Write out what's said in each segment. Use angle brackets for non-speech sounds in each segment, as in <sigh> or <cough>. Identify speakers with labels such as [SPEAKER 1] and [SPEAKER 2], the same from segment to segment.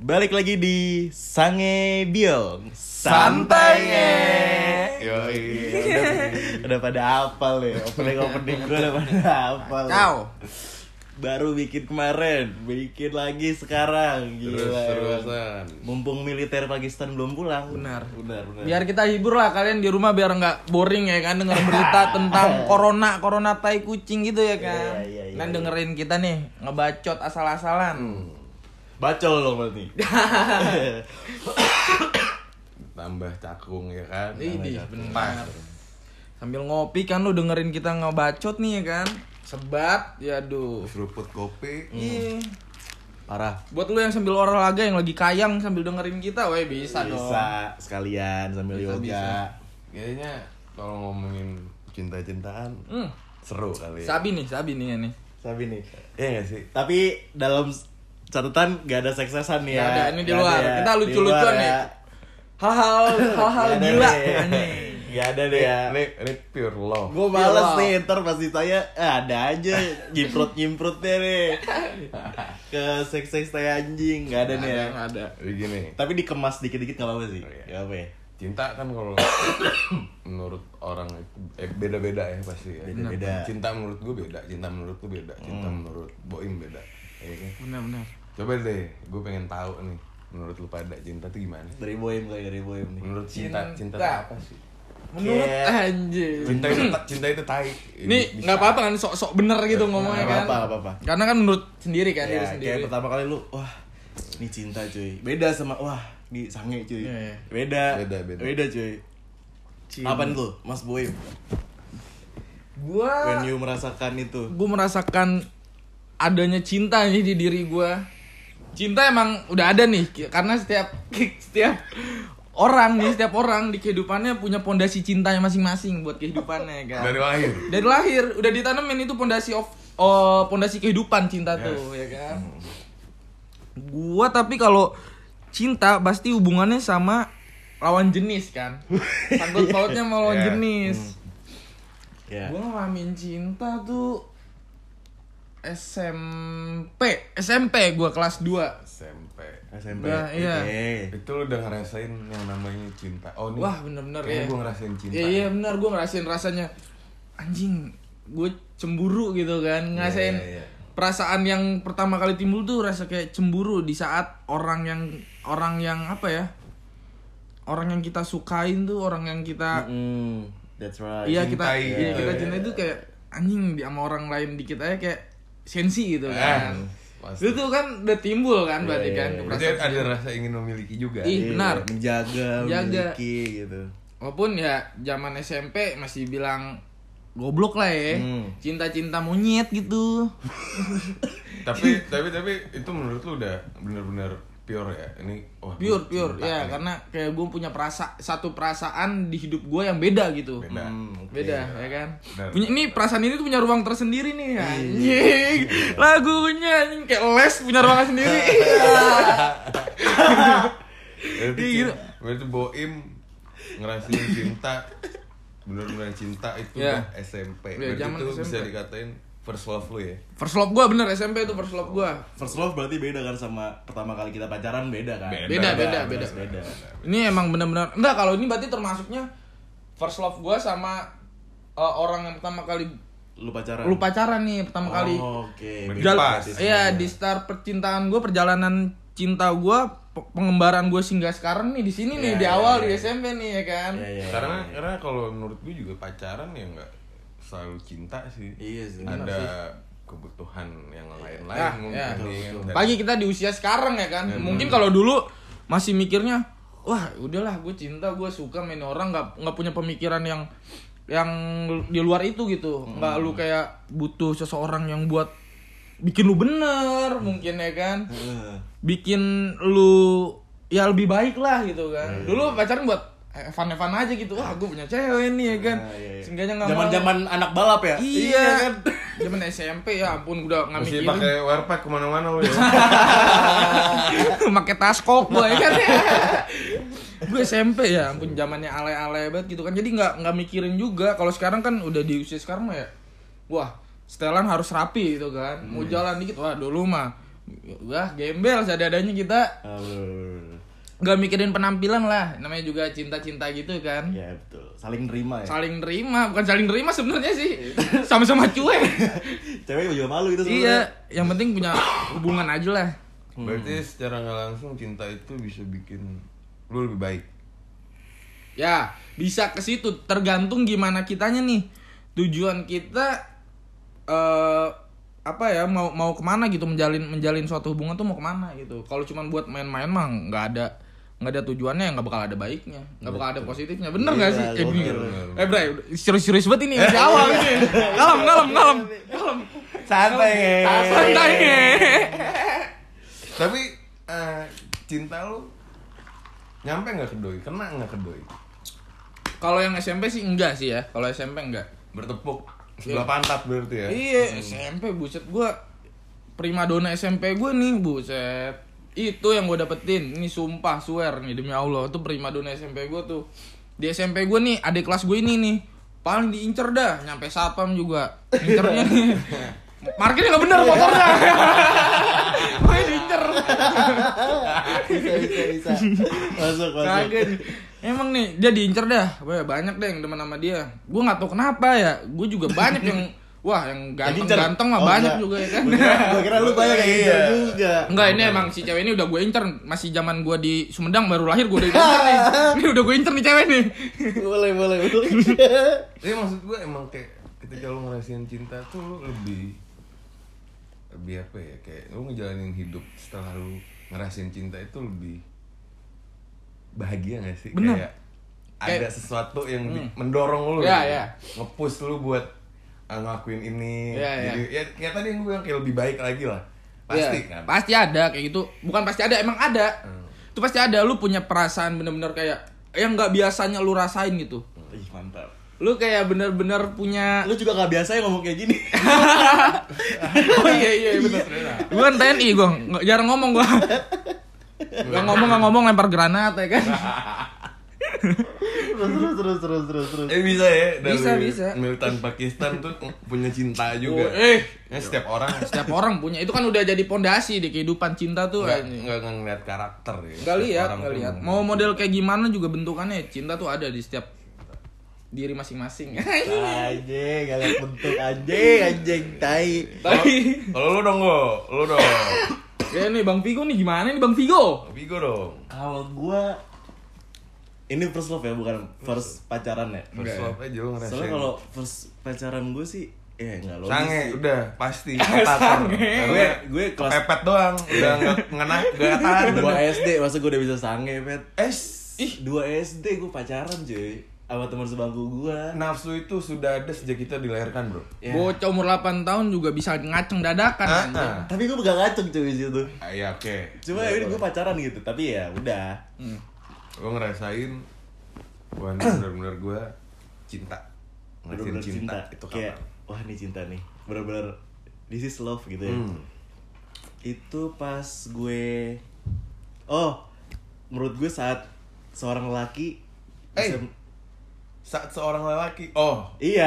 [SPEAKER 1] Balik lagi di Sange Biong
[SPEAKER 2] Santainya.
[SPEAKER 1] Yoi udah, udah pada hafal ya Opening-opening gue udah pada hafal ya.
[SPEAKER 2] Kau.
[SPEAKER 1] Baru bikin kemarin Bikin lagi sekarang Gila ya. emang.
[SPEAKER 3] Terus terusan.
[SPEAKER 1] Mumpung militer Pakistan belum pulang
[SPEAKER 2] Benar.
[SPEAKER 1] Benar, benar.
[SPEAKER 2] Biar kita hibur lah kalian di rumah biar nggak boring ya kan denger berita
[SPEAKER 1] <laughs>
[SPEAKER 2] tentang corona corona tai kucing gitu ya kan.
[SPEAKER 1] Iya, iya, iya,
[SPEAKER 2] Kalian
[SPEAKER 1] iya.
[SPEAKER 2] dengerin kita nih ngebacot asal-asalan.
[SPEAKER 1] Bacol dong
[SPEAKER 2] <laughs>
[SPEAKER 1] berarti
[SPEAKER 3] Tambah cakung ya kan.
[SPEAKER 1] Hmm,
[SPEAKER 2] Ini benar. Sambil ngopi kan lu dengerin kita ngebacot nih ya kan. Sebat, ya aduh.
[SPEAKER 3] Seruput kopi.
[SPEAKER 1] Hmm.
[SPEAKER 2] Iya.
[SPEAKER 3] Parah.
[SPEAKER 2] Buat lu yang sambil olahraga yang lagi kayang sambil dengerin kita, weh bisa,
[SPEAKER 1] Bisa
[SPEAKER 2] dong.
[SPEAKER 1] sekalian sambil yoga
[SPEAKER 3] Kayaknya kalau ngomongin cinta-cintaan
[SPEAKER 2] Hmm.
[SPEAKER 3] seru kali. Ya.
[SPEAKER 2] Sabi nih, sabi nih ya nih.
[SPEAKER 1] Sabi nih
[SPEAKER 3] Iya gak sih?
[SPEAKER 1] Tapi dalam catatan gak ada seksesan ya
[SPEAKER 2] Ya, ada ini di
[SPEAKER 1] Nggak
[SPEAKER 2] luar.
[SPEAKER 1] ada ya.
[SPEAKER 2] Kita
[SPEAKER 1] Di
[SPEAKER 2] lucu-lucuan
[SPEAKER 1] luar
[SPEAKER 2] nih. Hal-hal
[SPEAKER 1] <laughs>
[SPEAKER 2] hal-hal
[SPEAKER 1] Nggak ada
[SPEAKER 2] gila.
[SPEAKER 1] nih.
[SPEAKER 2] anjing.
[SPEAKER 1] Nggak ada
[SPEAKER 3] Ini,
[SPEAKER 1] deh ya
[SPEAKER 3] ini, ini pure love.
[SPEAKER 1] Gue males
[SPEAKER 2] Iya,
[SPEAKER 1] nih, ntar pasti saya "Ah, ada aja nyimprut-nyimprutnya nih Ke seks-seks tai anjing, gak ada nih ya
[SPEAKER 2] Nggak ada.
[SPEAKER 3] Jadi gini,
[SPEAKER 1] Tapi dikemas dikit-dikit gak apa-apa sih
[SPEAKER 3] Oh, iya.
[SPEAKER 1] Gak apa ya
[SPEAKER 3] cinta kan kalau <coughs> menurut orang itu- eh, beda-beda ya pasti ya.
[SPEAKER 1] Beda-beda.
[SPEAKER 3] Cinta menurut gue beda, cinta menurut lu beda, cinta menurut Boim beda. Iya kan?
[SPEAKER 2] Benar-benar.
[SPEAKER 3] Coba deh, gue pengen tahu nih menurut lu pada cinta tuh gimana?
[SPEAKER 1] Dari boim kali, dari boim nih
[SPEAKER 3] Menurut cinta, cinta,
[SPEAKER 2] Cinta.
[SPEAKER 3] tuh apa sih?
[SPEAKER 2] Menurut
[SPEAKER 1] Yeah.
[SPEAKER 2] anjing.
[SPEAKER 3] Cinta itu cinta itu tai.
[SPEAKER 2] Nih
[SPEAKER 3] Bisa.
[SPEAKER 2] nggak apa-apa kan sok-sok bener gitu ngomongnya
[SPEAKER 1] nggak
[SPEAKER 2] kan.
[SPEAKER 1] apa-apa, nggak apa-apa.
[SPEAKER 2] Karena kan menurut sendiri kan diri
[SPEAKER 1] Ya,
[SPEAKER 2] sendiri.
[SPEAKER 1] kayak pertama kali lu, wah ini cinta cuy Beda sama, wah ini sange cuy
[SPEAKER 2] Iya, iya.
[SPEAKER 1] Beda,
[SPEAKER 3] Beda, beda.
[SPEAKER 1] cuy
[SPEAKER 2] Cinta.
[SPEAKER 1] Apaan tuh, mas boim?
[SPEAKER 2] Gua
[SPEAKER 1] When you merasakan itu
[SPEAKER 2] gue merasakan adanya cinta nih di diri gue cinta emang udah ada nih ki- karena setiap <laughs> setiap orang nih setiap orang di kehidupannya punya pondasi cintanya masing-masing buat kehidupannya ya kan
[SPEAKER 3] Dari lahir.
[SPEAKER 2] dari lahir udah ditanemin itu pondasi of oh, pondasi kehidupan cinta tuh ya kan gua tapi kalau cinta pasti hubungannya sama lawan jenis kan sangkut pautnya sama lawan
[SPEAKER 3] Iya.
[SPEAKER 2] jenis
[SPEAKER 1] Ya,
[SPEAKER 2] Gue ngalamin cinta tuh SMP SMP gue kelas 2
[SPEAKER 3] SMP.
[SPEAKER 1] SMP
[SPEAKER 2] Nah, iya.
[SPEAKER 1] Oke.
[SPEAKER 3] Itu lu udah ngerasain yang namanya cinta. Oh, nih.
[SPEAKER 2] Wah bener-bener
[SPEAKER 3] Kayaknya
[SPEAKER 2] ya
[SPEAKER 3] gue ngerasain cinta.
[SPEAKER 2] Iya iya bener gue ngerasain rasanya Anjing gue cemburu gitu kan Ngerasain
[SPEAKER 3] iya, iya.
[SPEAKER 2] perasaan yang pertama kali timbul tuh rasa kayak cemburu Di saat orang yang Orang yang apa ya Orang yang kita sukain tuh Orang yang kita
[SPEAKER 1] Mm, that's right.
[SPEAKER 2] Iya kita
[SPEAKER 3] Cintai
[SPEAKER 2] iya,
[SPEAKER 3] gitu
[SPEAKER 2] kita
[SPEAKER 3] ya.
[SPEAKER 2] cinta itu kayak anjing di sama orang lain dikit aja kayak sensi gitu
[SPEAKER 3] Ah,
[SPEAKER 2] kan.
[SPEAKER 3] pasti.
[SPEAKER 2] itu kan udah timbul kan berarti kan
[SPEAKER 1] iya,
[SPEAKER 3] Berarti
[SPEAKER 2] keperasaan
[SPEAKER 3] ada
[SPEAKER 2] sensi.
[SPEAKER 3] rasa ingin memiliki juga.
[SPEAKER 2] Iya. benar.
[SPEAKER 1] Menjaga,
[SPEAKER 2] Jaga.
[SPEAKER 1] memiliki gitu.
[SPEAKER 2] Walaupun ya zaman SMP masih bilang goblok lah ya.
[SPEAKER 1] Hmm.
[SPEAKER 2] Cinta-cinta monyet gitu.
[SPEAKER 3] tapi tapi tapi itu menurut lu udah bener-bener pure ya. Ini wah. gua
[SPEAKER 2] Pure pure
[SPEAKER 3] cinta
[SPEAKER 2] ya
[SPEAKER 3] nih.
[SPEAKER 2] karena kayak gue punya perasa satu perasaan di hidup gue yang beda gitu.
[SPEAKER 3] beda.
[SPEAKER 1] Nah,
[SPEAKER 2] Beda ya kan.
[SPEAKER 3] Benar.
[SPEAKER 2] Punya ini perasaan ini tuh punya ruang tersendiri nih anjing. Lagunya anjing kayak les punya ruang sendiri.
[SPEAKER 3] Berarti,
[SPEAKER 2] Iya.
[SPEAKER 3] berarti Boim ngerasain cinta bener-bener cinta itu
[SPEAKER 2] Iya.
[SPEAKER 3] udah SMP.
[SPEAKER 2] Iya,
[SPEAKER 3] Berarti
[SPEAKER 2] zaman
[SPEAKER 3] itu bisa
[SPEAKER 2] SMP.
[SPEAKER 3] dikatain first love lu ya.
[SPEAKER 2] First love gue bener SMP itu first love gue
[SPEAKER 1] First love berarti beda kan sama pertama kali kita pacaran beda kan?
[SPEAKER 2] Beda, beda, beda.
[SPEAKER 1] jelas beda.
[SPEAKER 2] Ini emang benar-benar enggak kalau ini berarti termasuknya first love gue sama uh, orang yang pertama kali
[SPEAKER 1] Lu pacaran.
[SPEAKER 2] lu pacaran nih pertama kali.
[SPEAKER 1] Nah. Oh, Oke.
[SPEAKER 3] Berarti
[SPEAKER 1] Beda
[SPEAKER 3] pas.
[SPEAKER 1] berarti
[SPEAKER 2] Iya
[SPEAKER 1] semuanya.
[SPEAKER 2] di start percintaan gue perjalanan cinta gue pengembaraan gue singgah sekarang nih di sini nih
[SPEAKER 1] Iya,
[SPEAKER 2] di
[SPEAKER 1] iya,
[SPEAKER 2] awal
[SPEAKER 1] iya.
[SPEAKER 2] di SMP nih ya kan.
[SPEAKER 1] Iya, iya,
[SPEAKER 3] karena
[SPEAKER 1] iya.
[SPEAKER 3] karena kalau menurut gue juga pacaran ya nggak selalu cinta sih
[SPEAKER 1] Iya sih, benar
[SPEAKER 3] ada kebutuhan yang lain-lain
[SPEAKER 2] Ah,
[SPEAKER 3] mungkin
[SPEAKER 2] iya.
[SPEAKER 3] ya kan? Dan-
[SPEAKER 2] Pagi kita di usia sekarang ya kan. Mungkin kalau dulu masih mikirnya wah udahlah gue cinta gue suka main orang nggak nggak punya pemikiran yang yang di luar itu gitu nggak
[SPEAKER 1] Hmm.
[SPEAKER 2] lu kayak butuh seseorang yang buat bikin lu bener mungkin ya kan
[SPEAKER 1] Heeh.
[SPEAKER 2] bikin lu ya lebih baik lah gitu kan dulu pacaran buat evan-evan aja gitu wah gue punya cewek nih ya kan
[SPEAKER 1] Nah, iya, iya.
[SPEAKER 2] seenggaknya nggak mau.
[SPEAKER 1] Zaman-zaman anak balap ya?
[SPEAKER 2] iya kan zaman SMP ya ampun udah nggak
[SPEAKER 3] masih
[SPEAKER 2] mikirin
[SPEAKER 3] pakai warpack kemana-mana lu ya
[SPEAKER 2] <laughs> pakai tas kok gue ya kan <laughs> gue SMP ya ampun zamannya ale-ale banget gitu kan jadi nggak nggak mikirin juga kalau sekarang kan udah di usia sekarang mah ya wah setelan harus rapi gitu kan mau jalan dikit wah dulu mah wah gembel seadanya kita
[SPEAKER 1] Ah, bener, bener, bener.
[SPEAKER 2] nggak mikirin penampilan lah namanya juga cinta-cinta gitu kan
[SPEAKER 1] Ya betul, saling nerima ya.
[SPEAKER 2] saling nerima bukan saling nerima sebenarnya sih sama-sama cuek
[SPEAKER 1] Cewek juga malu itu
[SPEAKER 2] iya
[SPEAKER 1] sebenarnya.
[SPEAKER 2] yang penting punya hubungan aja lah
[SPEAKER 3] Berarti secara nggak langsung cinta itu bisa bikin lu lebih baik.
[SPEAKER 2] ya bisa ke situ tergantung gimana kitanya nih tujuan kita eh apa ya mau mau kemana gitu menjalin menjalin suatu hubungan tuh mau kemana gitu kalau cuman buat main-main mah nggak ada nggak ada tujuannya ya nggak bakal ada baiknya nggak bakal ada positifnya bener nggak
[SPEAKER 1] Iya,
[SPEAKER 2] sih eh,
[SPEAKER 1] bener.
[SPEAKER 2] bener. eh Bray, serius-serius banget ini
[SPEAKER 1] <laughs>
[SPEAKER 2] di awal ini kalem kalem kalem
[SPEAKER 1] Iya,
[SPEAKER 2] kalem
[SPEAKER 1] Santai. ya. Nge.
[SPEAKER 2] santai nge.
[SPEAKER 3] Tapi eh, cinta lu nyampe nggak ke doi, kena nggak ke doi,
[SPEAKER 2] kalau yang SMP sih enggak sih ya kalau SMP enggak
[SPEAKER 3] bertepuk sebelah pantat berarti ya.
[SPEAKER 2] Iya,
[SPEAKER 1] hmm.
[SPEAKER 2] SMP buset gua primadona SMP gue nih, buset. Itu yang gue dapetin. Ini sumpah swear nih demi Allah, itu primadona SMP gue tuh. Di SMP gue nih, adik kelas gue ini nih paling diincer dah, nyampe satpam juga. Incernya
[SPEAKER 1] <laughs>
[SPEAKER 2] nih. Parkirnya nggak bener motornya. Gue diincer.
[SPEAKER 1] Bisa bisa bisa. Masuk masuk.
[SPEAKER 2] Kagak nih. Emang nih dia diincer dah, Wah, banyak deh yang demen sama dia. Gue nggak tahu kenapa ya, gue juga banyak yang
[SPEAKER 1] <laughs>
[SPEAKER 2] wah yang
[SPEAKER 1] diincer?
[SPEAKER 2] ganteng-ganteng mah
[SPEAKER 1] Oh,
[SPEAKER 2] banyak
[SPEAKER 1] enggak.
[SPEAKER 2] juga ya
[SPEAKER 1] <laughs>
[SPEAKER 2] kan.
[SPEAKER 1] Gue kira lu banyak kayak gitu
[SPEAKER 3] Iya.
[SPEAKER 1] juga.
[SPEAKER 2] Enggak, ini emang si cewek ini udah gue incer masih zaman gue di Sumedang baru lahir gue udah incer nih. Ini udah gue incer nih cewek nih.
[SPEAKER 1] Boleh boleh boleh.
[SPEAKER 3] Tapi maksud gue emang kayak ketika lu ngerasain cinta tuh lu lebih lebih apa ya kayak lu ngejalanin hidup setelah lu ngerasain cinta itu lebih bahagia gak sih?
[SPEAKER 2] Bener.
[SPEAKER 3] Kayak ada
[SPEAKER 2] Kayak- Hmm.
[SPEAKER 3] sesuatu yang di-
[SPEAKER 2] Iya,
[SPEAKER 3] mendorong lu, gitu.
[SPEAKER 2] iya.
[SPEAKER 3] ngepush lu buat ah, ngelakuin ini.
[SPEAKER 2] Iya, iya.
[SPEAKER 3] Jadi ya kayak tadi yang gue bilang kayak lebih baik lagi lah. Pasti
[SPEAKER 2] Iya,
[SPEAKER 3] kan. Hmm.
[SPEAKER 2] Pasti ada kayak gitu. Bukan pasti ada, emang ada. Itu pasti ada lu punya perasaan bener-bener kayak yang nggak biasanya lu rasain gitu.
[SPEAKER 1] <laughs> Ih mantap.
[SPEAKER 2] Lu kayak bener-bener punya
[SPEAKER 1] Lu juga gak biasa ya ngomong kayak gini.
[SPEAKER 2] <laughs>
[SPEAKER 1] <laughs>
[SPEAKER 2] Oh iya iya bener. Gue kan TNI gue nggak- jarang ngomong gue. Gak ngomong gak ngomong lempar granat ya kan.
[SPEAKER 1] terus terus terus terus terus terus.
[SPEAKER 3] Eh bisa ya dari
[SPEAKER 2] Bisa, bisa.
[SPEAKER 3] militan Pakistan tuh punya cinta juga.
[SPEAKER 2] Oh, eh.
[SPEAKER 3] Ya, setiap orang
[SPEAKER 2] Setiap orang punya itu kan udah jadi pondasi di kehidupan cinta tuh.
[SPEAKER 3] nggak
[SPEAKER 2] anjing.
[SPEAKER 3] nggak nggak ngeliat karakter ya.
[SPEAKER 2] Gak
[SPEAKER 3] Setiap
[SPEAKER 2] lihat,
[SPEAKER 3] orang
[SPEAKER 2] gak
[SPEAKER 3] tuh
[SPEAKER 2] lihat. Mau model kayak gimana juga bentukannya ya. cinta tuh ada di setiap diri masing-masing. <laughs>
[SPEAKER 1] Anjing, gak liat bentuk anjing, anjing, tai
[SPEAKER 2] Tapi
[SPEAKER 3] Kalau lu dong, lo, lu
[SPEAKER 1] <coughs>
[SPEAKER 3] dong.
[SPEAKER 2] ya nih Bang Vigo nih gimana nih Bang Vigo?
[SPEAKER 3] Vigo dong.
[SPEAKER 1] Kalau gua Ini first love ya, bukan first pacaran ya
[SPEAKER 3] First love aja lu ngerasain.
[SPEAKER 1] Soalnya kalau first pacaran gue sih Ya gak logis
[SPEAKER 3] sange
[SPEAKER 1] sih.
[SPEAKER 3] udah
[SPEAKER 1] <laughs>
[SPEAKER 3] pasti ketaker.
[SPEAKER 1] Gue, gue kelas
[SPEAKER 3] kepepet doang, udah nggak
[SPEAKER 1] <laughs>
[SPEAKER 3] ngena, nggak tahan.
[SPEAKER 1] 2 SD, masa gue udah bisa sange, Pet
[SPEAKER 3] Eh,
[SPEAKER 1] Ih, 2 SD gue pacaran cuy Sama teman sebangku gue
[SPEAKER 3] nafsu itu sudah ada sejak kita dilahirkan, bro.
[SPEAKER 1] Ya.
[SPEAKER 2] Bocah umur 8 tahun juga bisa ngaceng
[SPEAKER 1] Iya,
[SPEAKER 2] dadakan
[SPEAKER 3] Ah,
[SPEAKER 2] anjing.
[SPEAKER 3] ah.
[SPEAKER 1] Tapi gue gak ngaceng cuy gitu di situ
[SPEAKER 3] Ah, Iya, oke.
[SPEAKER 1] Cuma ini gue pacaran gitu, tapi ya udah
[SPEAKER 2] Hmm.
[SPEAKER 3] Gue ngerasain, wah ini benar-benar gue cinta. Ngerasain
[SPEAKER 1] Bener-bener
[SPEAKER 3] cinta,
[SPEAKER 1] cinta,
[SPEAKER 3] itu
[SPEAKER 1] Kayak,
[SPEAKER 3] kapan?
[SPEAKER 1] wah ini cinta nih Bener-bener, this is love gitu ya
[SPEAKER 3] Hmm.
[SPEAKER 1] itu pas gue oh menurut gue saat seorang lelaki
[SPEAKER 3] Eh.
[SPEAKER 1] bisa-
[SPEAKER 3] Saat seorang lelaki, oh,
[SPEAKER 1] iya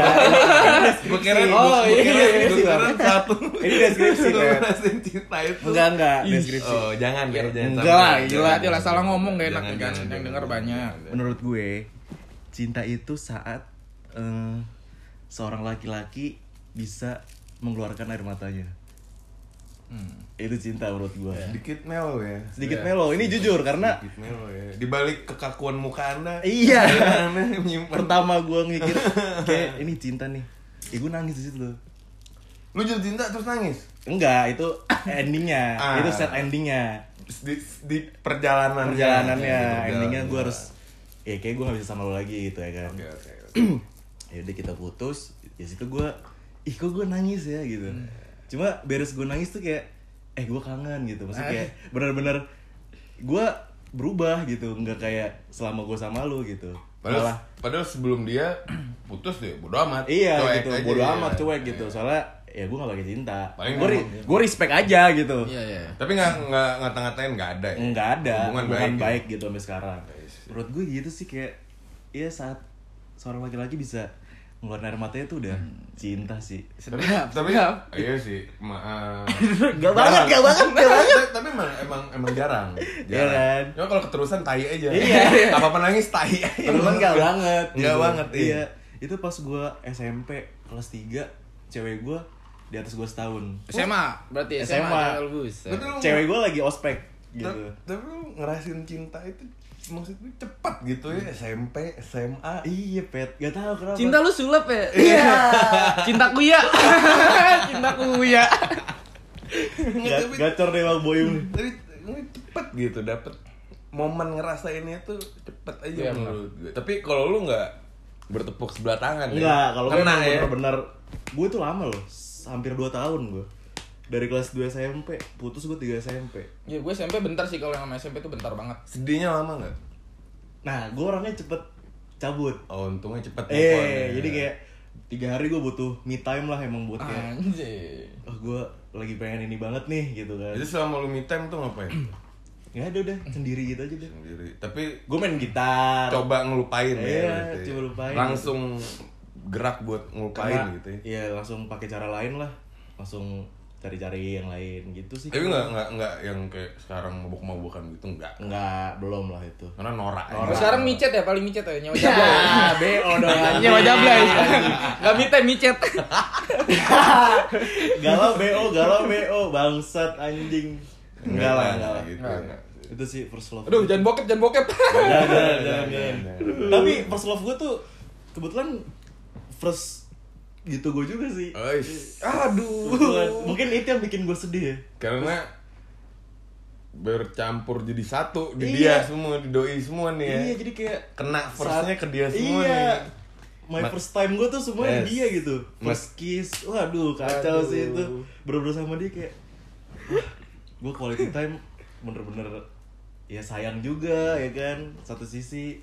[SPEAKER 3] <laughs> gue kira
[SPEAKER 1] Oh,
[SPEAKER 3] gue
[SPEAKER 1] iya,
[SPEAKER 3] kira
[SPEAKER 1] iya, iya,
[SPEAKER 3] gue
[SPEAKER 1] sih,
[SPEAKER 3] kira
[SPEAKER 1] Bang.
[SPEAKER 3] satu
[SPEAKER 1] Ini deskripsi,
[SPEAKER 3] Lu
[SPEAKER 1] Bang.
[SPEAKER 3] ngerasain cinta itu
[SPEAKER 1] enggak enggak
[SPEAKER 2] Ih.
[SPEAKER 1] deskripsi
[SPEAKER 3] Oh, jangan ya, jangan.
[SPEAKER 1] Iya. Enggak
[SPEAKER 3] sampai.
[SPEAKER 1] lah,
[SPEAKER 2] gila,
[SPEAKER 3] Jangan,
[SPEAKER 2] dia lah
[SPEAKER 3] jangan,
[SPEAKER 2] salah ngomong, gak
[SPEAKER 3] jangan,
[SPEAKER 2] enak nih, kan,
[SPEAKER 3] jangan,
[SPEAKER 2] yang
[SPEAKER 3] jangan,
[SPEAKER 2] denger
[SPEAKER 3] jangan,
[SPEAKER 2] banyak.
[SPEAKER 3] jangan.
[SPEAKER 1] menurut gue cinta itu saat eh, seorang laki-laki bisa mengeluarkan air matanya
[SPEAKER 3] Hmm.
[SPEAKER 1] itu cinta menurut gue
[SPEAKER 3] Sedikit melo ya.
[SPEAKER 1] sedikit melo ini jujur karena
[SPEAKER 3] Sedikit melo ya. Di balik kekakuan muka Anda.
[SPEAKER 1] Iya.
[SPEAKER 3] Anda <laughs> menyimpan.
[SPEAKER 1] <laughs> pertama gue mikir kayak ini cinta nih ya gue nangis di situ loh
[SPEAKER 3] Lu jatuh cinta terus nangis.
[SPEAKER 1] enggak itu endingnya
[SPEAKER 3] Ah.
[SPEAKER 1] itu
[SPEAKER 3] Iya,
[SPEAKER 1] set endingnya
[SPEAKER 3] Di, di perjalanan
[SPEAKER 1] perjalanannya
[SPEAKER 3] iya,
[SPEAKER 1] endingnya gue harus ya kayak gue gak bisa sama lo lagi gitu ya kan
[SPEAKER 3] Oke, oke.
[SPEAKER 1] <clears throat> ya udah kita putus ya situ gue ih kok gue nangis ya gitu
[SPEAKER 3] Hmm.
[SPEAKER 1] cuma beres gue nangis tuh kayak eh gue kangen gitu maksudnya
[SPEAKER 3] Ah.
[SPEAKER 1] kayak bener-bener gue berubah gitu nggak kayak selama gue sama lo gitu
[SPEAKER 3] Padahal,
[SPEAKER 1] Malah-
[SPEAKER 3] padahal sebelum dia putus deh bodo amat.
[SPEAKER 1] iya
[SPEAKER 3] Cuek
[SPEAKER 1] gitu
[SPEAKER 3] aja,
[SPEAKER 1] bodo
[SPEAKER 3] iya.
[SPEAKER 1] amat cuek gitu soalnya ya gue gak pakai cinta
[SPEAKER 3] Paling
[SPEAKER 1] gue
[SPEAKER 3] ngomong.
[SPEAKER 1] gue respect aja gitu
[SPEAKER 2] Iya iya.
[SPEAKER 3] Tapi nggak nggak ngata-ngatain nggak ada ya.
[SPEAKER 1] nggak ada
[SPEAKER 3] Hubungan
[SPEAKER 1] hubungan,
[SPEAKER 3] baik. Iya,
[SPEAKER 1] baik, gitu sampai sekarang menurut gue gitu sih kayak ya saat seorang iya, laki-laki bisa ngeluarin air matanya tuh udah
[SPEAKER 3] Hmm.
[SPEAKER 1] cinta sih
[SPEAKER 2] Sedap,
[SPEAKER 3] tapi
[SPEAKER 2] sedap.
[SPEAKER 3] iya sih ma eh,
[SPEAKER 1] Gak banget, gak banget, gak banget.
[SPEAKER 3] tapi, tapi emang emang emang jarang
[SPEAKER 1] Iya kan?
[SPEAKER 3] cuma kalau keterusan tai aja
[SPEAKER 1] Iya.
[SPEAKER 3] <laughs> apa apa nangis tai aja
[SPEAKER 1] Temen gak Iya, banget.
[SPEAKER 3] Gak
[SPEAKER 1] gitu.
[SPEAKER 3] banget, iya.
[SPEAKER 1] Iya. Itu pas gua SMP kelas 3, cewek gua di atas gua setahun.
[SPEAKER 2] SMA berarti SMA.
[SPEAKER 1] SMA.
[SPEAKER 2] Jalan Bus.
[SPEAKER 3] Betul.
[SPEAKER 1] Cewek gua lagi ospek gitu.
[SPEAKER 3] Ta- tapi lu ngerasin cinta itu maksudnya cepat gitu ya
[SPEAKER 1] Hmm.
[SPEAKER 3] SMP
[SPEAKER 1] <laughs>
[SPEAKER 3] SMA
[SPEAKER 1] Iya, Pet. Gak tahu kenapa.
[SPEAKER 2] Cinta lu sulap ya? Iya. Cintaku
[SPEAKER 3] <laughs>
[SPEAKER 2] ya. Cintaku ya.
[SPEAKER 1] Ga-
[SPEAKER 3] Nggak, tapi-
[SPEAKER 1] gacor deh Bang Boyum. nih.
[SPEAKER 3] tapi ini cepet gitu dapet momen ngerasainnya tuh cepet aja
[SPEAKER 2] Iya,
[SPEAKER 3] menurut gue tapi kalau lu nggak bertepuk sebelah tangan
[SPEAKER 1] Enggak, kalau gue
[SPEAKER 3] ya. kena
[SPEAKER 1] emang
[SPEAKER 3] ya
[SPEAKER 1] bener-bener Gue tuh lama loh, s- hampir 2 tahun gue Dari kelas 2 SMP, putus gue 3 SMP
[SPEAKER 2] Ya gue SMP bentar sih kalau yang sama SMP tuh bentar banget.
[SPEAKER 3] sedihnya lama nggak
[SPEAKER 1] Nah, gue orangnya cepet cabut
[SPEAKER 3] oh untungnya cepet move on ya.
[SPEAKER 1] Eh, jadi kayak tiga hari gue butuh me time lah emang buat kayak
[SPEAKER 2] Anjir.
[SPEAKER 3] Ah.
[SPEAKER 1] Oh gue lagi pengen ini banget nih gitu kan
[SPEAKER 3] jadi selama lu me time tuh ngapain
[SPEAKER 1] <clears throat> Gak ada udah, sendiri gitu aja deh
[SPEAKER 3] sendiri tapi
[SPEAKER 1] Gue main gitar
[SPEAKER 3] coba ngelupain ya,
[SPEAKER 1] Iya,
[SPEAKER 3] berarti
[SPEAKER 1] coba lupain.
[SPEAKER 3] langsung gerak buat ngelupain
[SPEAKER 1] Karena-
[SPEAKER 3] gitu ya
[SPEAKER 1] Iya, langsung pakai cara lain lah Langsung cari-cari yang lain gitu sih
[SPEAKER 3] tapi nggak nggak nggak yang kayak sekarang mabuk-mabukan gitu nggak
[SPEAKER 1] Nggak, belum lah itu
[SPEAKER 3] karena norak aja.
[SPEAKER 1] Norak.
[SPEAKER 2] Sekarang micet ya paling micet ya
[SPEAKER 3] Iya.
[SPEAKER 2] nyawa
[SPEAKER 1] Ya,
[SPEAKER 2] jablay.
[SPEAKER 1] <laughs>
[SPEAKER 3] Eh, oh,
[SPEAKER 1] BO dong
[SPEAKER 2] Nyawa jablay.
[SPEAKER 1] <laughs>
[SPEAKER 2] Gak minta micet.
[SPEAKER 1] galau BO, galau BO, bangsat anjing. Enggak lah, enggak lah.
[SPEAKER 3] gitu
[SPEAKER 2] Nggak.
[SPEAKER 1] Itu sih first love.
[SPEAKER 2] Aduh, jangan bokep, jangan bokep.
[SPEAKER 1] jangan, jangan,
[SPEAKER 3] Jangan,
[SPEAKER 1] jangan, jangan.
[SPEAKER 3] jangan.
[SPEAKER 1] Tapi first love gue tuh kebetulan first gitu gue juga sih.
[SPEAKER 3] Ois.
[SPEAKER 1] Kebetulan. Mungkin itu yang bikin gue sedih ya.
[SPEAKER 3] karena bercampur jadi satu di dia
[SPEAKER 1] Iya.
[SPEAKER 3] semua di doi semua nih ya
[SPEAKER 1] Iya, jadi kayak
[SPEAKER 3] kena firstnya
[SPEAKER 1] saat-
[SPEAKER 3] ke dia semua
[SPEAKER 1] iya.
[SPEAKER 3] nih
[SPEAKER 1] My
[SPEAKER 3] Ma-
[SPEAKER 1] first time gue tuh semuanya
[SPEAKER 3] Yes.
[SPEAKER 1] dia gitu. First kiss, waduh kacau
[SPEAKER 3] Aduh.
[SPEAKER 1] sih itu. Bener-bener sama dia kayak, gue quality time bener-bener ya sayang juga ya kan satu sisi.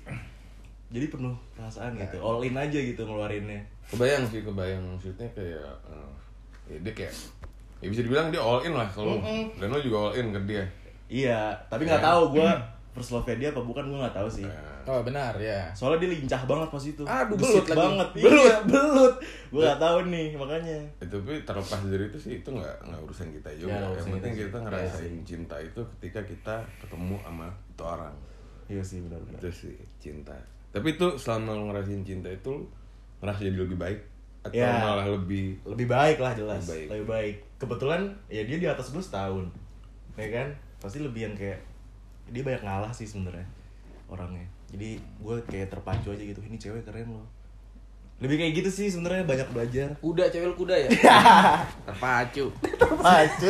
[SPEAKER 1] Jadi penuh perasaan gitu, all in aja gitu ngeluarinnya.
[SPEAKER 3] kebayang sih kebayang maksudnya kayak eh, ya dia kayak ya bisa dibilang dia all in lah kalau lu. dan lo juga all in ke dia
[SPEAKER 1] Iya, tapi nggak tahu gue first love dia apa bukan gue nggak tahu sih.
[SPEAKER 2] Oh, benar ya.
[SPEAKER 1] Soalnya dia lincah banget pas itu.
[SPEAKER 2] Aduh,
[SPEAKER 1] Gesit
[SPEAKER 2] belut lagi.
[SPEAKER 1] banget.
[SPEAKER 2] Belut.
[SPEAKER 1] Iya, belut. Gue nggak tahu nih makanya.
[SPEAKER 3] Eh, tapi terlepas dari itu sih itu nggak nggak urusan kita
[SPEAKER 1] Ya,
[SPEAKER 3] juga yang
[SPEAKER 1] urusan
[SPEAKER 3] penting
[SPEAKER 1] kita sih.
[SPEAKER 3] kita ngerasain cinta itu ketika kita ketemu sama itu orang
[SPEAKER 1] Iya sih benar-benar.
[SPEAKER 3] itu sih cinta tapi itu selama lo ngerasain cinta itu lo ngerasa jadi lebih baik atau
[SPEAKER 1] Ya.
[SPEAKER 3] malah lebih
[SPEAKER 1] lebih baik lah jelas
[SPEAKER 3] Lebih baik.
[SPEAKER 1] lebih baik. kebetulan ya dia di atas gue setahun ya kan pasti lebih yang kayak dia banyak ngalah sih sebenarnya orangnya jadi gue kayak terpacu aja gitu ini cewek keren loh lebih kayak gitu sih sebenarnya banyak belajar
[SPEAKER 2] Kuda, cewek lu kuda <laughs> ya. Terpacu.
[SPEAKER 1] terpacu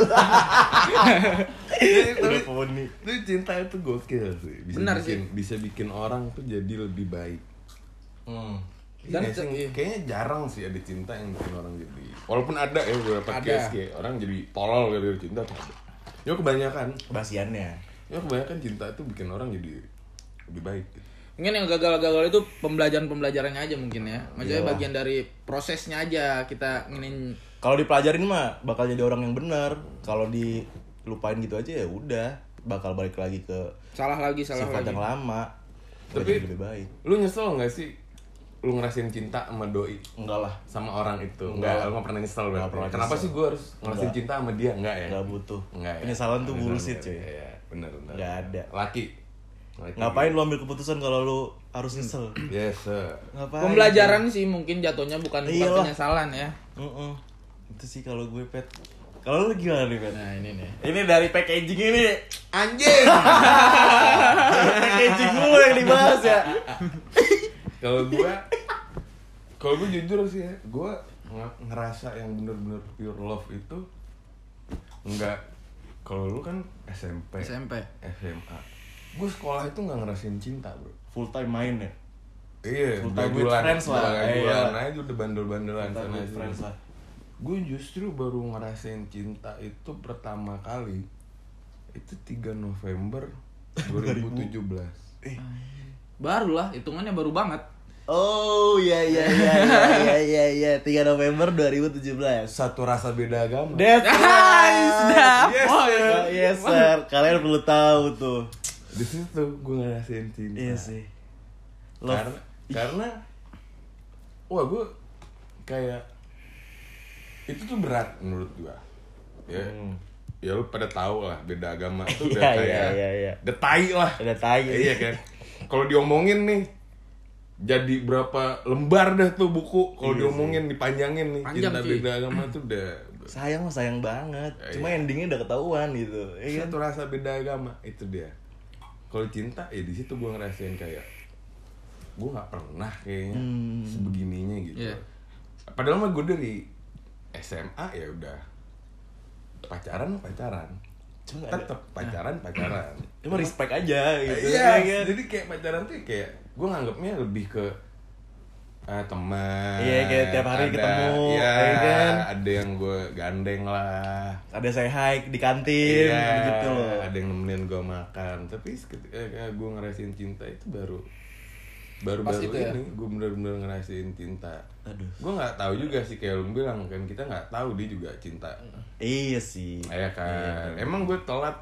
[SPEAKER 1] <laughs>
[SPEAKER 3] tapi
[SPEAKER 1] udah poni
[SPEAKER 3] itu cinta itu gokil sih bisa
[SPEAKER 2] Benar
[SPEAKER 3] bikin, bisa bikin orang tuh jadi lebih baik
[SPEAKER 1] hmm.
[SPEAKER 3] Iya
[SPEAKER 2] Dan
[SPEAKER 3] nggak sih?
[SPEAKER 2] iya.
[SPEAKER 3] kayaknya jarang sih ada cinta yang bikin orang jadi walaupun ada ya beberapa
[SPEAKER 2] Ada.
[SPEAKER 3] case kayak orang jadi tolol gara-gara cinta tuh ada ya kebanyakan
[SPEAKER 1] kebasiannya
[SPEAKER 3] ya kebanyakan cinta itu bikin orang jadi lebih baik gitu.
[SPEAKER 2] Mungkin yang gagal-gagal itu pembelajaran-pembelajarannya aja mungkin
[SPEAKER 1] Iya.
[SPEAKER 2] ya. Maksudnya bagian dari prosesnya aja kita nginin
[SPEAKER 1] kalau dipelajarin mah bakal jadi orang yang benar kalau dilupain gitu aja ya udah bakal balik lagi ke
[SPEAKER 2] salah lagi, salah
[SPEAKER 1] sifat
[SPEAKER 2] lagi.
[SPEAKER 1] yang lama Gua
[SPEAKER 3] Tapi-
[SPEAKER 1] jadi lebih baik
[SPEAKER 3] lu nyesel nggak sih lu ngerasain cinta sama doi
[SPEAKER 1] enggak lah
[SPEAKER 3] sama orang itu
[SPEAKER 1] Enggak.
[SPEAKER 3] nggak lu nggak pernah nyesel berarti
[SPEAKER 1] pernah
[SPEAKER 3] kenapa
[SPEAKER 1] nyesel.
[SPEAKER 3] sih gue harus ngerasain
[SPEAKER 1] Enggak.
[SPEAKER 3] cinta sama dia nggak ya
[SPEAKER 1] Enggak butuh.
[SPEAKER 3] nggak ya?
[SPEAKER 1] Penyesalan tuh
[SPEAKER 3] Penyesalan
[SPEAKER 1] bullshit,
[SPEAKER 3] nggak
[SPEAKER 1] cuy.
[SPEAKER 3] ya? Iya, bener bener
[SPEAKER 1] Nggak ada.
[SPEAKER 3] laki, laki.
[SPEAKER 1] ngapain lo ambil keputusan kalau lo harus nyesel
[SPEAKER 3] yes sir.
[SPEAKER 1] ngapain
[SPEAKER 2] Pembelajaran sih mungkin jatuhnya bukan bukan
[SPEAKER 1] Iyalah.
[SPEAKER 2] penyesalan
[SPEAKER 1] <laughs>
[SPEAKER 2] ya.
[SPEAKER 1] Heeh. itu sih kalau gue pet kalau lu gimana nih pet
[SPEAKER 2] Nah, ini nih.
[SPEAKER 1] ini dari packaging ini <laughs>
[SPEAKER 2] Anjing.
[SPEAKER 1] packaging mulu yang dibahas ya
[SPEAKER 3] kalau gue kalau gue jujur sih ya gue nge- ngerasa yang bener-bener pure love itu nggak kalau lu kan SMP
[SPEAKER 2] SMP.
[SPEAKER 3] SMA gue sekolah itu nggak ngerasain cinta bro
[SPEAKER 1] full time main ya
[SPEAKER 3] Iya,
[SPEAKER 1] Full time with
[SPEAKER 3] gadulan,
[SPEAKER 1] friends lah.
[SPEAKER 3] gadulan
[SPEAKER 1] Iya.
[SPEAKER 3] aja udah bandel-bandelan
[SPEAKER 1] Full time
[SPEAKER 3] sana
[SPEAKER 1] with
[SPEAKER 3] sini.
[SPEAKER 1] friends lah.
[SPEAKER 3] Gue justru baru ngerasain cinta itu pertama kali itu 3 November
[SPEAKER 1] <laughs>
[SPEAKER 3] 2017.
[SPEAKER 2] Barulah hitungannya baru banget.
[SPEAKER 1] oh iya iya iya iya iya iya 3 November 2017
[SPEAKER 3] Satu rasa beda agama.
[SPEAKER 1] That's right.
[SPEAKER 2] Yes, sir.
[SPEAKER 1] Oh, yes sir. Kalian perlu tahu tuh.
[SPEAKER 3] Di situ gue ngerasain cinta.
[SPEAKER 1] Iya sih.
[SPEAKER 3] Karena,
[SPEAKER 1] Love.
[SPEAKER 3] karena wah gue kayak itu tuh berat menurut gua ya
[SPEAKER 1] Hmm.
[SPEAKER 3] ya lu pada tahu lah beda
[SPEAKER 1] <laughs>
[SPEAKER 3] agama tuh udah
[SPEAKER 1] Iya, iya,
[SPEAKER 3] kayak
[SPEAKER 1] iya, iya.
[SPEAKER 3] udah tai lah
[SPEAKER 1] Udah tai.
[SPEAKER 3] <laughs> iya kan kalau diomongin nih jadi berapa lembar dah tuh buku kalau
[SPEAKER 1] Iya
[SPEAKER 3] diomongin dipanjangin nih
[SPEAKER 2] Panjang,
[SPEAKER 3] cinta
[SPEAKER 2] Ci.
[SPEAKER 3] beda agama tuh udah
[SPEAKER 1] Sayang mah sayang banget. Cuma endingnya udah ketahuan gitu. Iya kan?
[SPEAKER 3] satu rasa beda agama itu dia kalau cinta ya di situ gua ngerasain kayak gua nggak pernah kayaknya
[SPEAKER 1] Hmm.
[SPEAKER 3] sebegininya gitu
[SPEAKER 2] Iya.
[SPEAKER 3] padahal mah gua dari SMA ya udah pacaran mah pacaran
[SPEAKER 1] Cuma ada-
[SPEAKER 3] tetap pacaran pacaran
[SPEAKER 1] Cuma respect aja gitu.
[SPEAKER 3] iya
[SPEAKER 1] kan?
[SPEAKER 3] jadi kayak pacaran tuh kayak gue nganggapnya lebih ke eh, teman
[SPEAKER 1] Iya, kayak tiap hari
[SPEAKER 3] ada-
[SPEAKER 1] ketemu,
[SPEAKER 3] iya,
[SPEAKER 1] ya kan?
[SPEAKER 3] ada yang gue gandeng lah iya,
[SPEAKER 1] Ada saya hike di kantin gitu loh.
[SPEAKER 3] ada yang nemenin gue makan tapi gue ngerasain cinta itu baru baru
[SPEAKER 2] Pas
[SPEAKER 3] baru
[SPEAKER 2] itu ya?
[SPEAKER 3] ini gue bener-bener ngerasain cinta
[SPEAKER 1] Aduh.
[SPEAKER 3] gue nggak tahu juga sih kayak lu bilang kan kita nggak tahu dia juga cinta
[SPEAKER 1] Iya sih.
[SPEAKER 3] Iya kan. Emang gue telat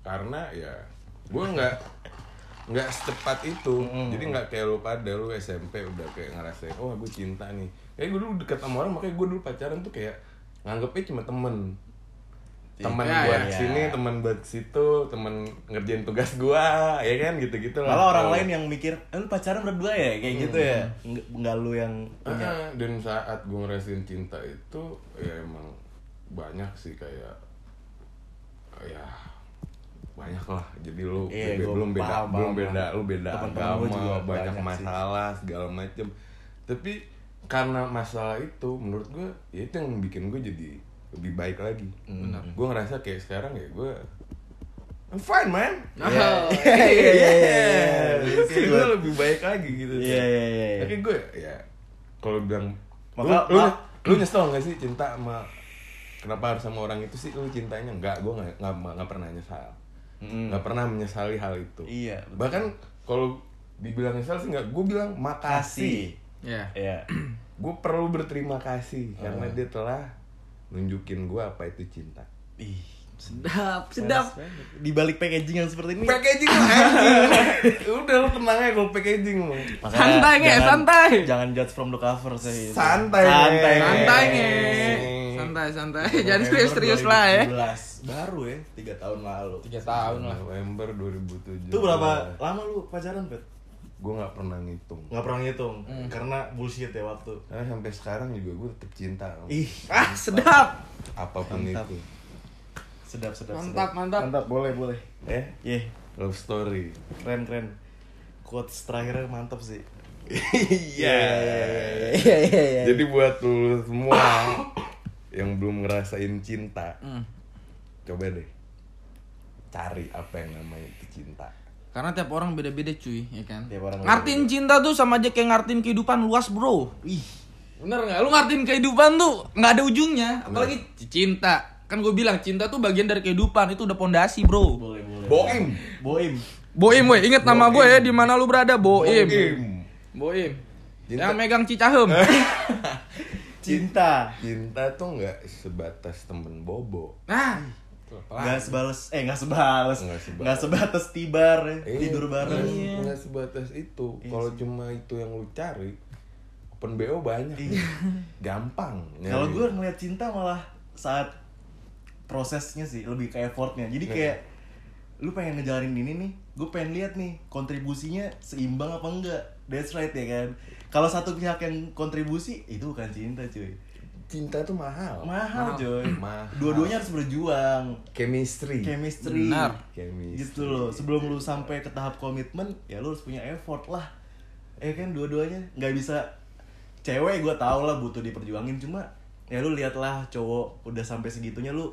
[SPEAKER 3] karena ya gue nggak nggak secepat itu. Jadi nggak kayak lu pada lu SMP udah kayak ngerasain, oh gue cinta nih. Kayak gue dulu deket sama orang makanya gue dulu pacaran tuh kayak nganggepnya cuma temen. Temen
[SPEAKER 2] Iya,
[SPEAKER 3] buat
[SPEAKER 1] iya.
[SPEAKER 3] sini, temen buat situ, temen ngerjain tugas gua, ya kan gitu-gitu lah.
[SPEAKER 1] Malah orang
[SPEAKER 3] Oh.
[SPEAKER 1] lain yang mikir, eh, lu pacaran berdua ya? Kayak gitu ya? Nggak, nggak lu yang punya.
[SPEAKER 3] Ah, dan saat gue ngerasain cinta itu ya emang banyak sih kayak ya banyak lah jadi lu
[SPEAKER 1] Iya,
[SPEAKER 3] beda-
[SPEAKER 1] gua
[SPEAKER 3] belum beda
[SPEAKER 1] paham,
[SPEAKER 3] belum
[SPEAKER 1] paham,
[SPEAKER 3] beda
[SPEAKER 1] paham.
[SPEAKER 3] lu beda
[SPEAKER 1] Temen-temen
[SPEAKER 3] agama
[SPEAKER 1] gua juga
[SPEAKER 3] banyak,
[SPEAKER 1] banyak sih.
[SPEAKER 3] masalah segala macem tapi karena masalah itu menurut gue ya itu yang bikin gue jadi lebih baik lagi gue ngerasa kayak sekarang ya gue I'm fine man
[SPEAKER 2] Nah,
[SPEAKER 1] <laughs>
[SPEAKER 2] <laughs>
[SPEAKER 1] Iya, iya,
[SPEAKER 3] <laughs>
[SPEAKER 1] iya.
[SPEAKER 3] Kayak gue lebih baik lagi gitu
[SPEAKER 1] Iya, iya, iya, iya.
[SPEAKER 3] tapi gue ya kalau bilang
[SPEAKER 1] Maka-
[SPEAKER 3] lu, lu,
[SPEAKER 1] ma-
[SPEAKER 3] lu nyesel gak sih cinta sama kenapa harus sama orang itu sih lu cintanya enggak gue nggak nggak nggak pernah nyesal
[SPEAKER 1] Mm-hmm.
[SPEAKER 3] nggak pernah menyesali hal itu
[SPEAKER 1] Hmm. Iya, betul.
[SPEAKER 3] bahkan kalau dibilang nyesal sih nggak gue bilang makasih
[SPEAKER 1] Kasih.
[SPEAKER 2] ya
[SPEAKER 1] Iya.
[SPEAKER 3] gue perlu berterima kasih
[SPEAKER 1] Ah.
[SPEAKER 3] karena dia telah nunjukin gue apa itu cinta
[SPEAKER 1] Ih,
[SPEAKER 2] sedap sedap
[SPEAKER 1] di balik <laughs> packaging yang seperti ini.
[SPEAKER 3] packaging lah anjing. udah lu tenang aja kalau packaging lu
[SPEAKER 1] Makanya
[SPEAKER 2] Santai, Nge,
[SPEAKER 1] jangan-
[SPEAKER 2] santai.
[SPEAKER 1] Jangan judge from the cover sih. itu.
[SPEAKER 3] Santai, Nge.
[SPEAKER 1] Santai, Nge.
[SPEAKER 2] santai nge
[SPEAKER 3] Nge.
[SPEAKER 2] santai santai <laughs>
[SPEAKER 1] November
[SPEAKER 2] jangan serius serius lah ya
[SPEAKER 1] 2017. Baru ya, 3 tahun lalu.
[SPEAKER 2] tiga tahun lah
[SPEAKER 3] November
[SPEAKER 2] Iya.
[SPEAKER 3] 2007
[SPEAKER 1] Itu berapa lama lu pacaran, Pet?
[SPEAKER 3] gue nggak pernah ngitung
[SPEAKER 1] Nggak pernah ngitung
[SPEAKER 2] Hmm.
[SPEAKER 1] karena bullshit ya waktu.
[SPEAKER 3] karena sampai sekarang juga gue tetap cinta sama
[SPEAKER 1] Ih,
[SPEAKER 2] ah sedap
[SPEAKER 3] apapun
[SPEAKER 1] Mantap.
[SPEAKER 3] itu
[SPEAKER 1] sedap sedap.
[SPEAKER 2] mantap
[SPEAKER 1] sedap.
[SPEAKER 2] mantap
[SPEAKER 1] boleh, boleh.
[SPEAKER 3] eh
[SPEAKER 1] Yeh,
[SPEAKER 3] love story
[SPEAKER 1] keren keren. Quotes terakhirnya mantap sih.
[SPEAKER 3] iya
[SPEAKER 1] Iya, iya, iya.
[SPEAKER 3] jadi buat lu semua yang belum ngerasain cinta
[SPEAKER 2] Hmm.
[SPEAKER 3] coba deh cari apa yang namanya itu cinta
[SPEAKER 2] karena tiap orang beda-beda cuy ya kan
[SPEAKER 1] Tiap orang
[SPEAKER 2] ngartin cinta tuh sama aja kayak ngartin kehidupan luas bro
[SPEAKER 1] Ih,
[SPEAKER 2] bener nggak lu ngartin kehidupan tuh nggak ada ujungnya apalagi c- cinta kan gue bilang cinta tuh bagian dari kehidupan itu udah pondasi bro
[SPEAKER 1] boleh, boleh.
[SPEAKER 3] boim
[SPEAKER 1] Boim.
[SPEAKER 2] boim weh inget nama gue ya di mana lu berada boim
[SPEAKER 3] boim
[SPEAKER 2] boim
[SPEAKER 3] Cinta-
[SPEAKER 2] yang megang cicahem
[SPEAKER 1] Cinta.
[SPEAKER 3] cinta tuh nggak sebatas temen bobo
[SPEAKER 2] nah
[SPEAKER 1] Nggak sebales, eh nggak sebales.
[SPEAKER 3] Nggak sebales.
[SPEAKER 1] Nggak sebatas tibar, ya.
[SPEAKER 3] Iya,
[SPEAKER 1] tidur bareng. Iya
[SPEAKER 3] nggak- nggak sebatas itu kalau cuma itu yang lu cari open bo banyak gampang
[SPEAKER 1] Iya.
[SPEAKER 3] nyari.
[SPEAKER 1] Kalau gue ngeliat cinta malah saat prosesnya sih lebih ke effortnya. Jadi
[SPEAKER 3] Iya.
[SPEAKER 1] kayak lu pengen ngejalanin ini nih, gue pengen lihat nih kontribusinya seimbang apa enggak. That's right ya kan. Kalau satu pihak yang kontribusi itu bukan cinta cuy.
[SPEAKER 3] cinta tuh mahal
[SPEAKER 1] Mahal cuy.
[SPEAKER 3] Mahal.
[SPEAKER 1] Dua-duanya harus berjuang.
[SPEAKER 3] chemistry
[SPEAKER 1] Chemistry.
[SPEAKER 2] Benar.
[SPEAKER 3] Chemistry.
[SPEAKER 1] Gitu loh. Sebelum lu sampai ke tahap komitmen, ya lu harus punya effort lah. Ya kan dua-duanya nggak bisa cewek gue tau lah butuh diperjuangin cuma ya lu lihatlah cowok udah sampai segitunya lu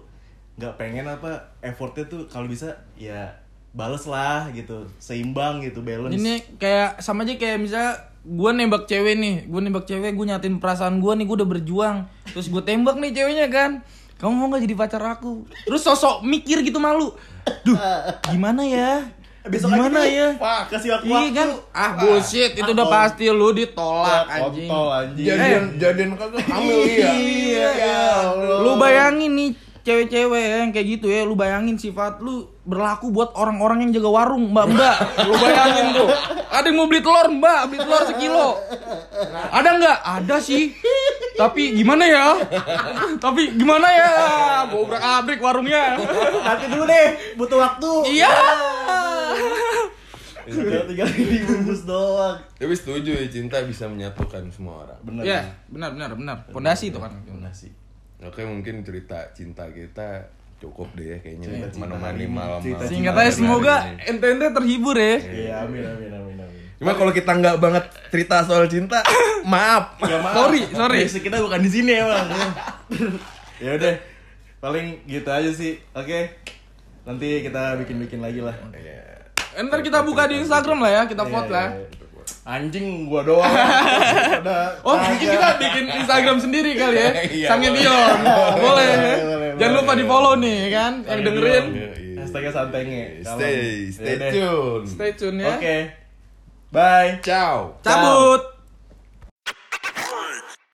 [SPEAKER 1] nggak pengen apa effortnya tuh kalau bisa ya bales lah gitu seimbang gitu balance
[SPEAKER 2] Ini kayak sama aja kayak misalnya gue nembak cewek nih, gue nembak cewek, gue nyatin perasaan gue nih, gue udah berjuang, terus gue tembak nih ceweknya kan, kamu mau nggak jadi pacar aku? Terus sosok mikir gitu malu, duh gimana ya?
[SPEAKER 1] Eh, Besok aja
[SPEAKER 2] gimana
[SPEAKER 1] deh.
[SPEAKER 2] ya?
[SPEAKER 1] Wah, kasih waktu-
[SPEAKER 2] Iya kan? Ah bullshit, itu udah pasti lu ditolak anjing. ya.
[SPEAKER 1] kontol anjing Eh,
[SPEAKER 3] jadian jadian <laughs> kagak hamil iya
[SPEAKER 1] Ya
[SPEAKER 2] Iya. Lu bayangin nih cewek-cewek yang kayak gitu ya, lu bayangin sifat lu berlaku buat orang-orang yang jaga warung, mbak-mbak. Lu bayangin tuh. Ada yang mau beli telur, mbak, beli telur sekilo. Ada nggak? Ada sih. tapi gimana ya tapi gimana ya gue ubrak abrik warungnya
[SPEAKER 1] Nanti dulu deh, butuh waktu.
[SPEAKER 2] iya
[SPEAKER 1] Udah tinggal dibungkus doang.
[SPEAKER 3] Tapi setuju ya cinta bisa menyatukan semua orang.
[SPEAKER 1] Benar.
[SPEAKER 2] ya benar benar benar pondasi itu kan
[SPEAKER 1] Nasi.
[SPEAKER 3] Oke mungkin cerita cinta kita cukup deh ya kayaknya
[SPEAKER 1] Cinta-cinta
[SPEAKER 3] menemani
[SPEAKER 1] hari ini.
[SPEAKER 3] malam.
[SPEAKER 1] Cinta-cinta
[SPEAKER 2] singkat aja semoga NTNT terhibur ya
[SPEAKER 1] Iya, amin amin amin amin.
[SPEAKER 3] Cuma kalau kita nggak banget cerita soal <laughs> cinta, maaf.
[SPEAKER 2] sorry sorry
[SPEAKER 1] Basic Iya, kita bukan di sini emang. <laughs> ya udah. Paling gitu aja sih. Oke. Nanti kita bikin-bikin lagi lah.
[SPEAKER 3] Iya,
[SPEAKER 2] Eh, ntar kita buka di Instagram lah ya kita
[SPEAKER 1] Iya,
[SPEAKER 2] vote lah
[SPEAKER 1] Anjing gua
[SPEAKER 2] <laughs>
[SPEAKER 1] doang. Ada.
[SPEAKER 2] Oh mungkin kita bikin Instagram sendiri kali ya
[SPEAKER 3] Iya,
[SPEAKER 2] Sangin
[SPEAKER 3] boleh.
[SPEAKER 2] Dion Boleh ya.
[SPEAKER 1] boleh,
[SPEAKER 2] Jangan lupa di follow nih kan Yang dengerin
[SPEAKER 1] Hashtagnya santengnya.
[SPEAKER 3] Stay, stay
[SPEAKER 1] Yaudah.
[SPEAKER 3] tune.
[SPEAKER 2] Stay tune ya
[SPEAKER 1] Oke. Bye.
[SPEAKER 3] Ciao.
[SPEAKER 2] Cabut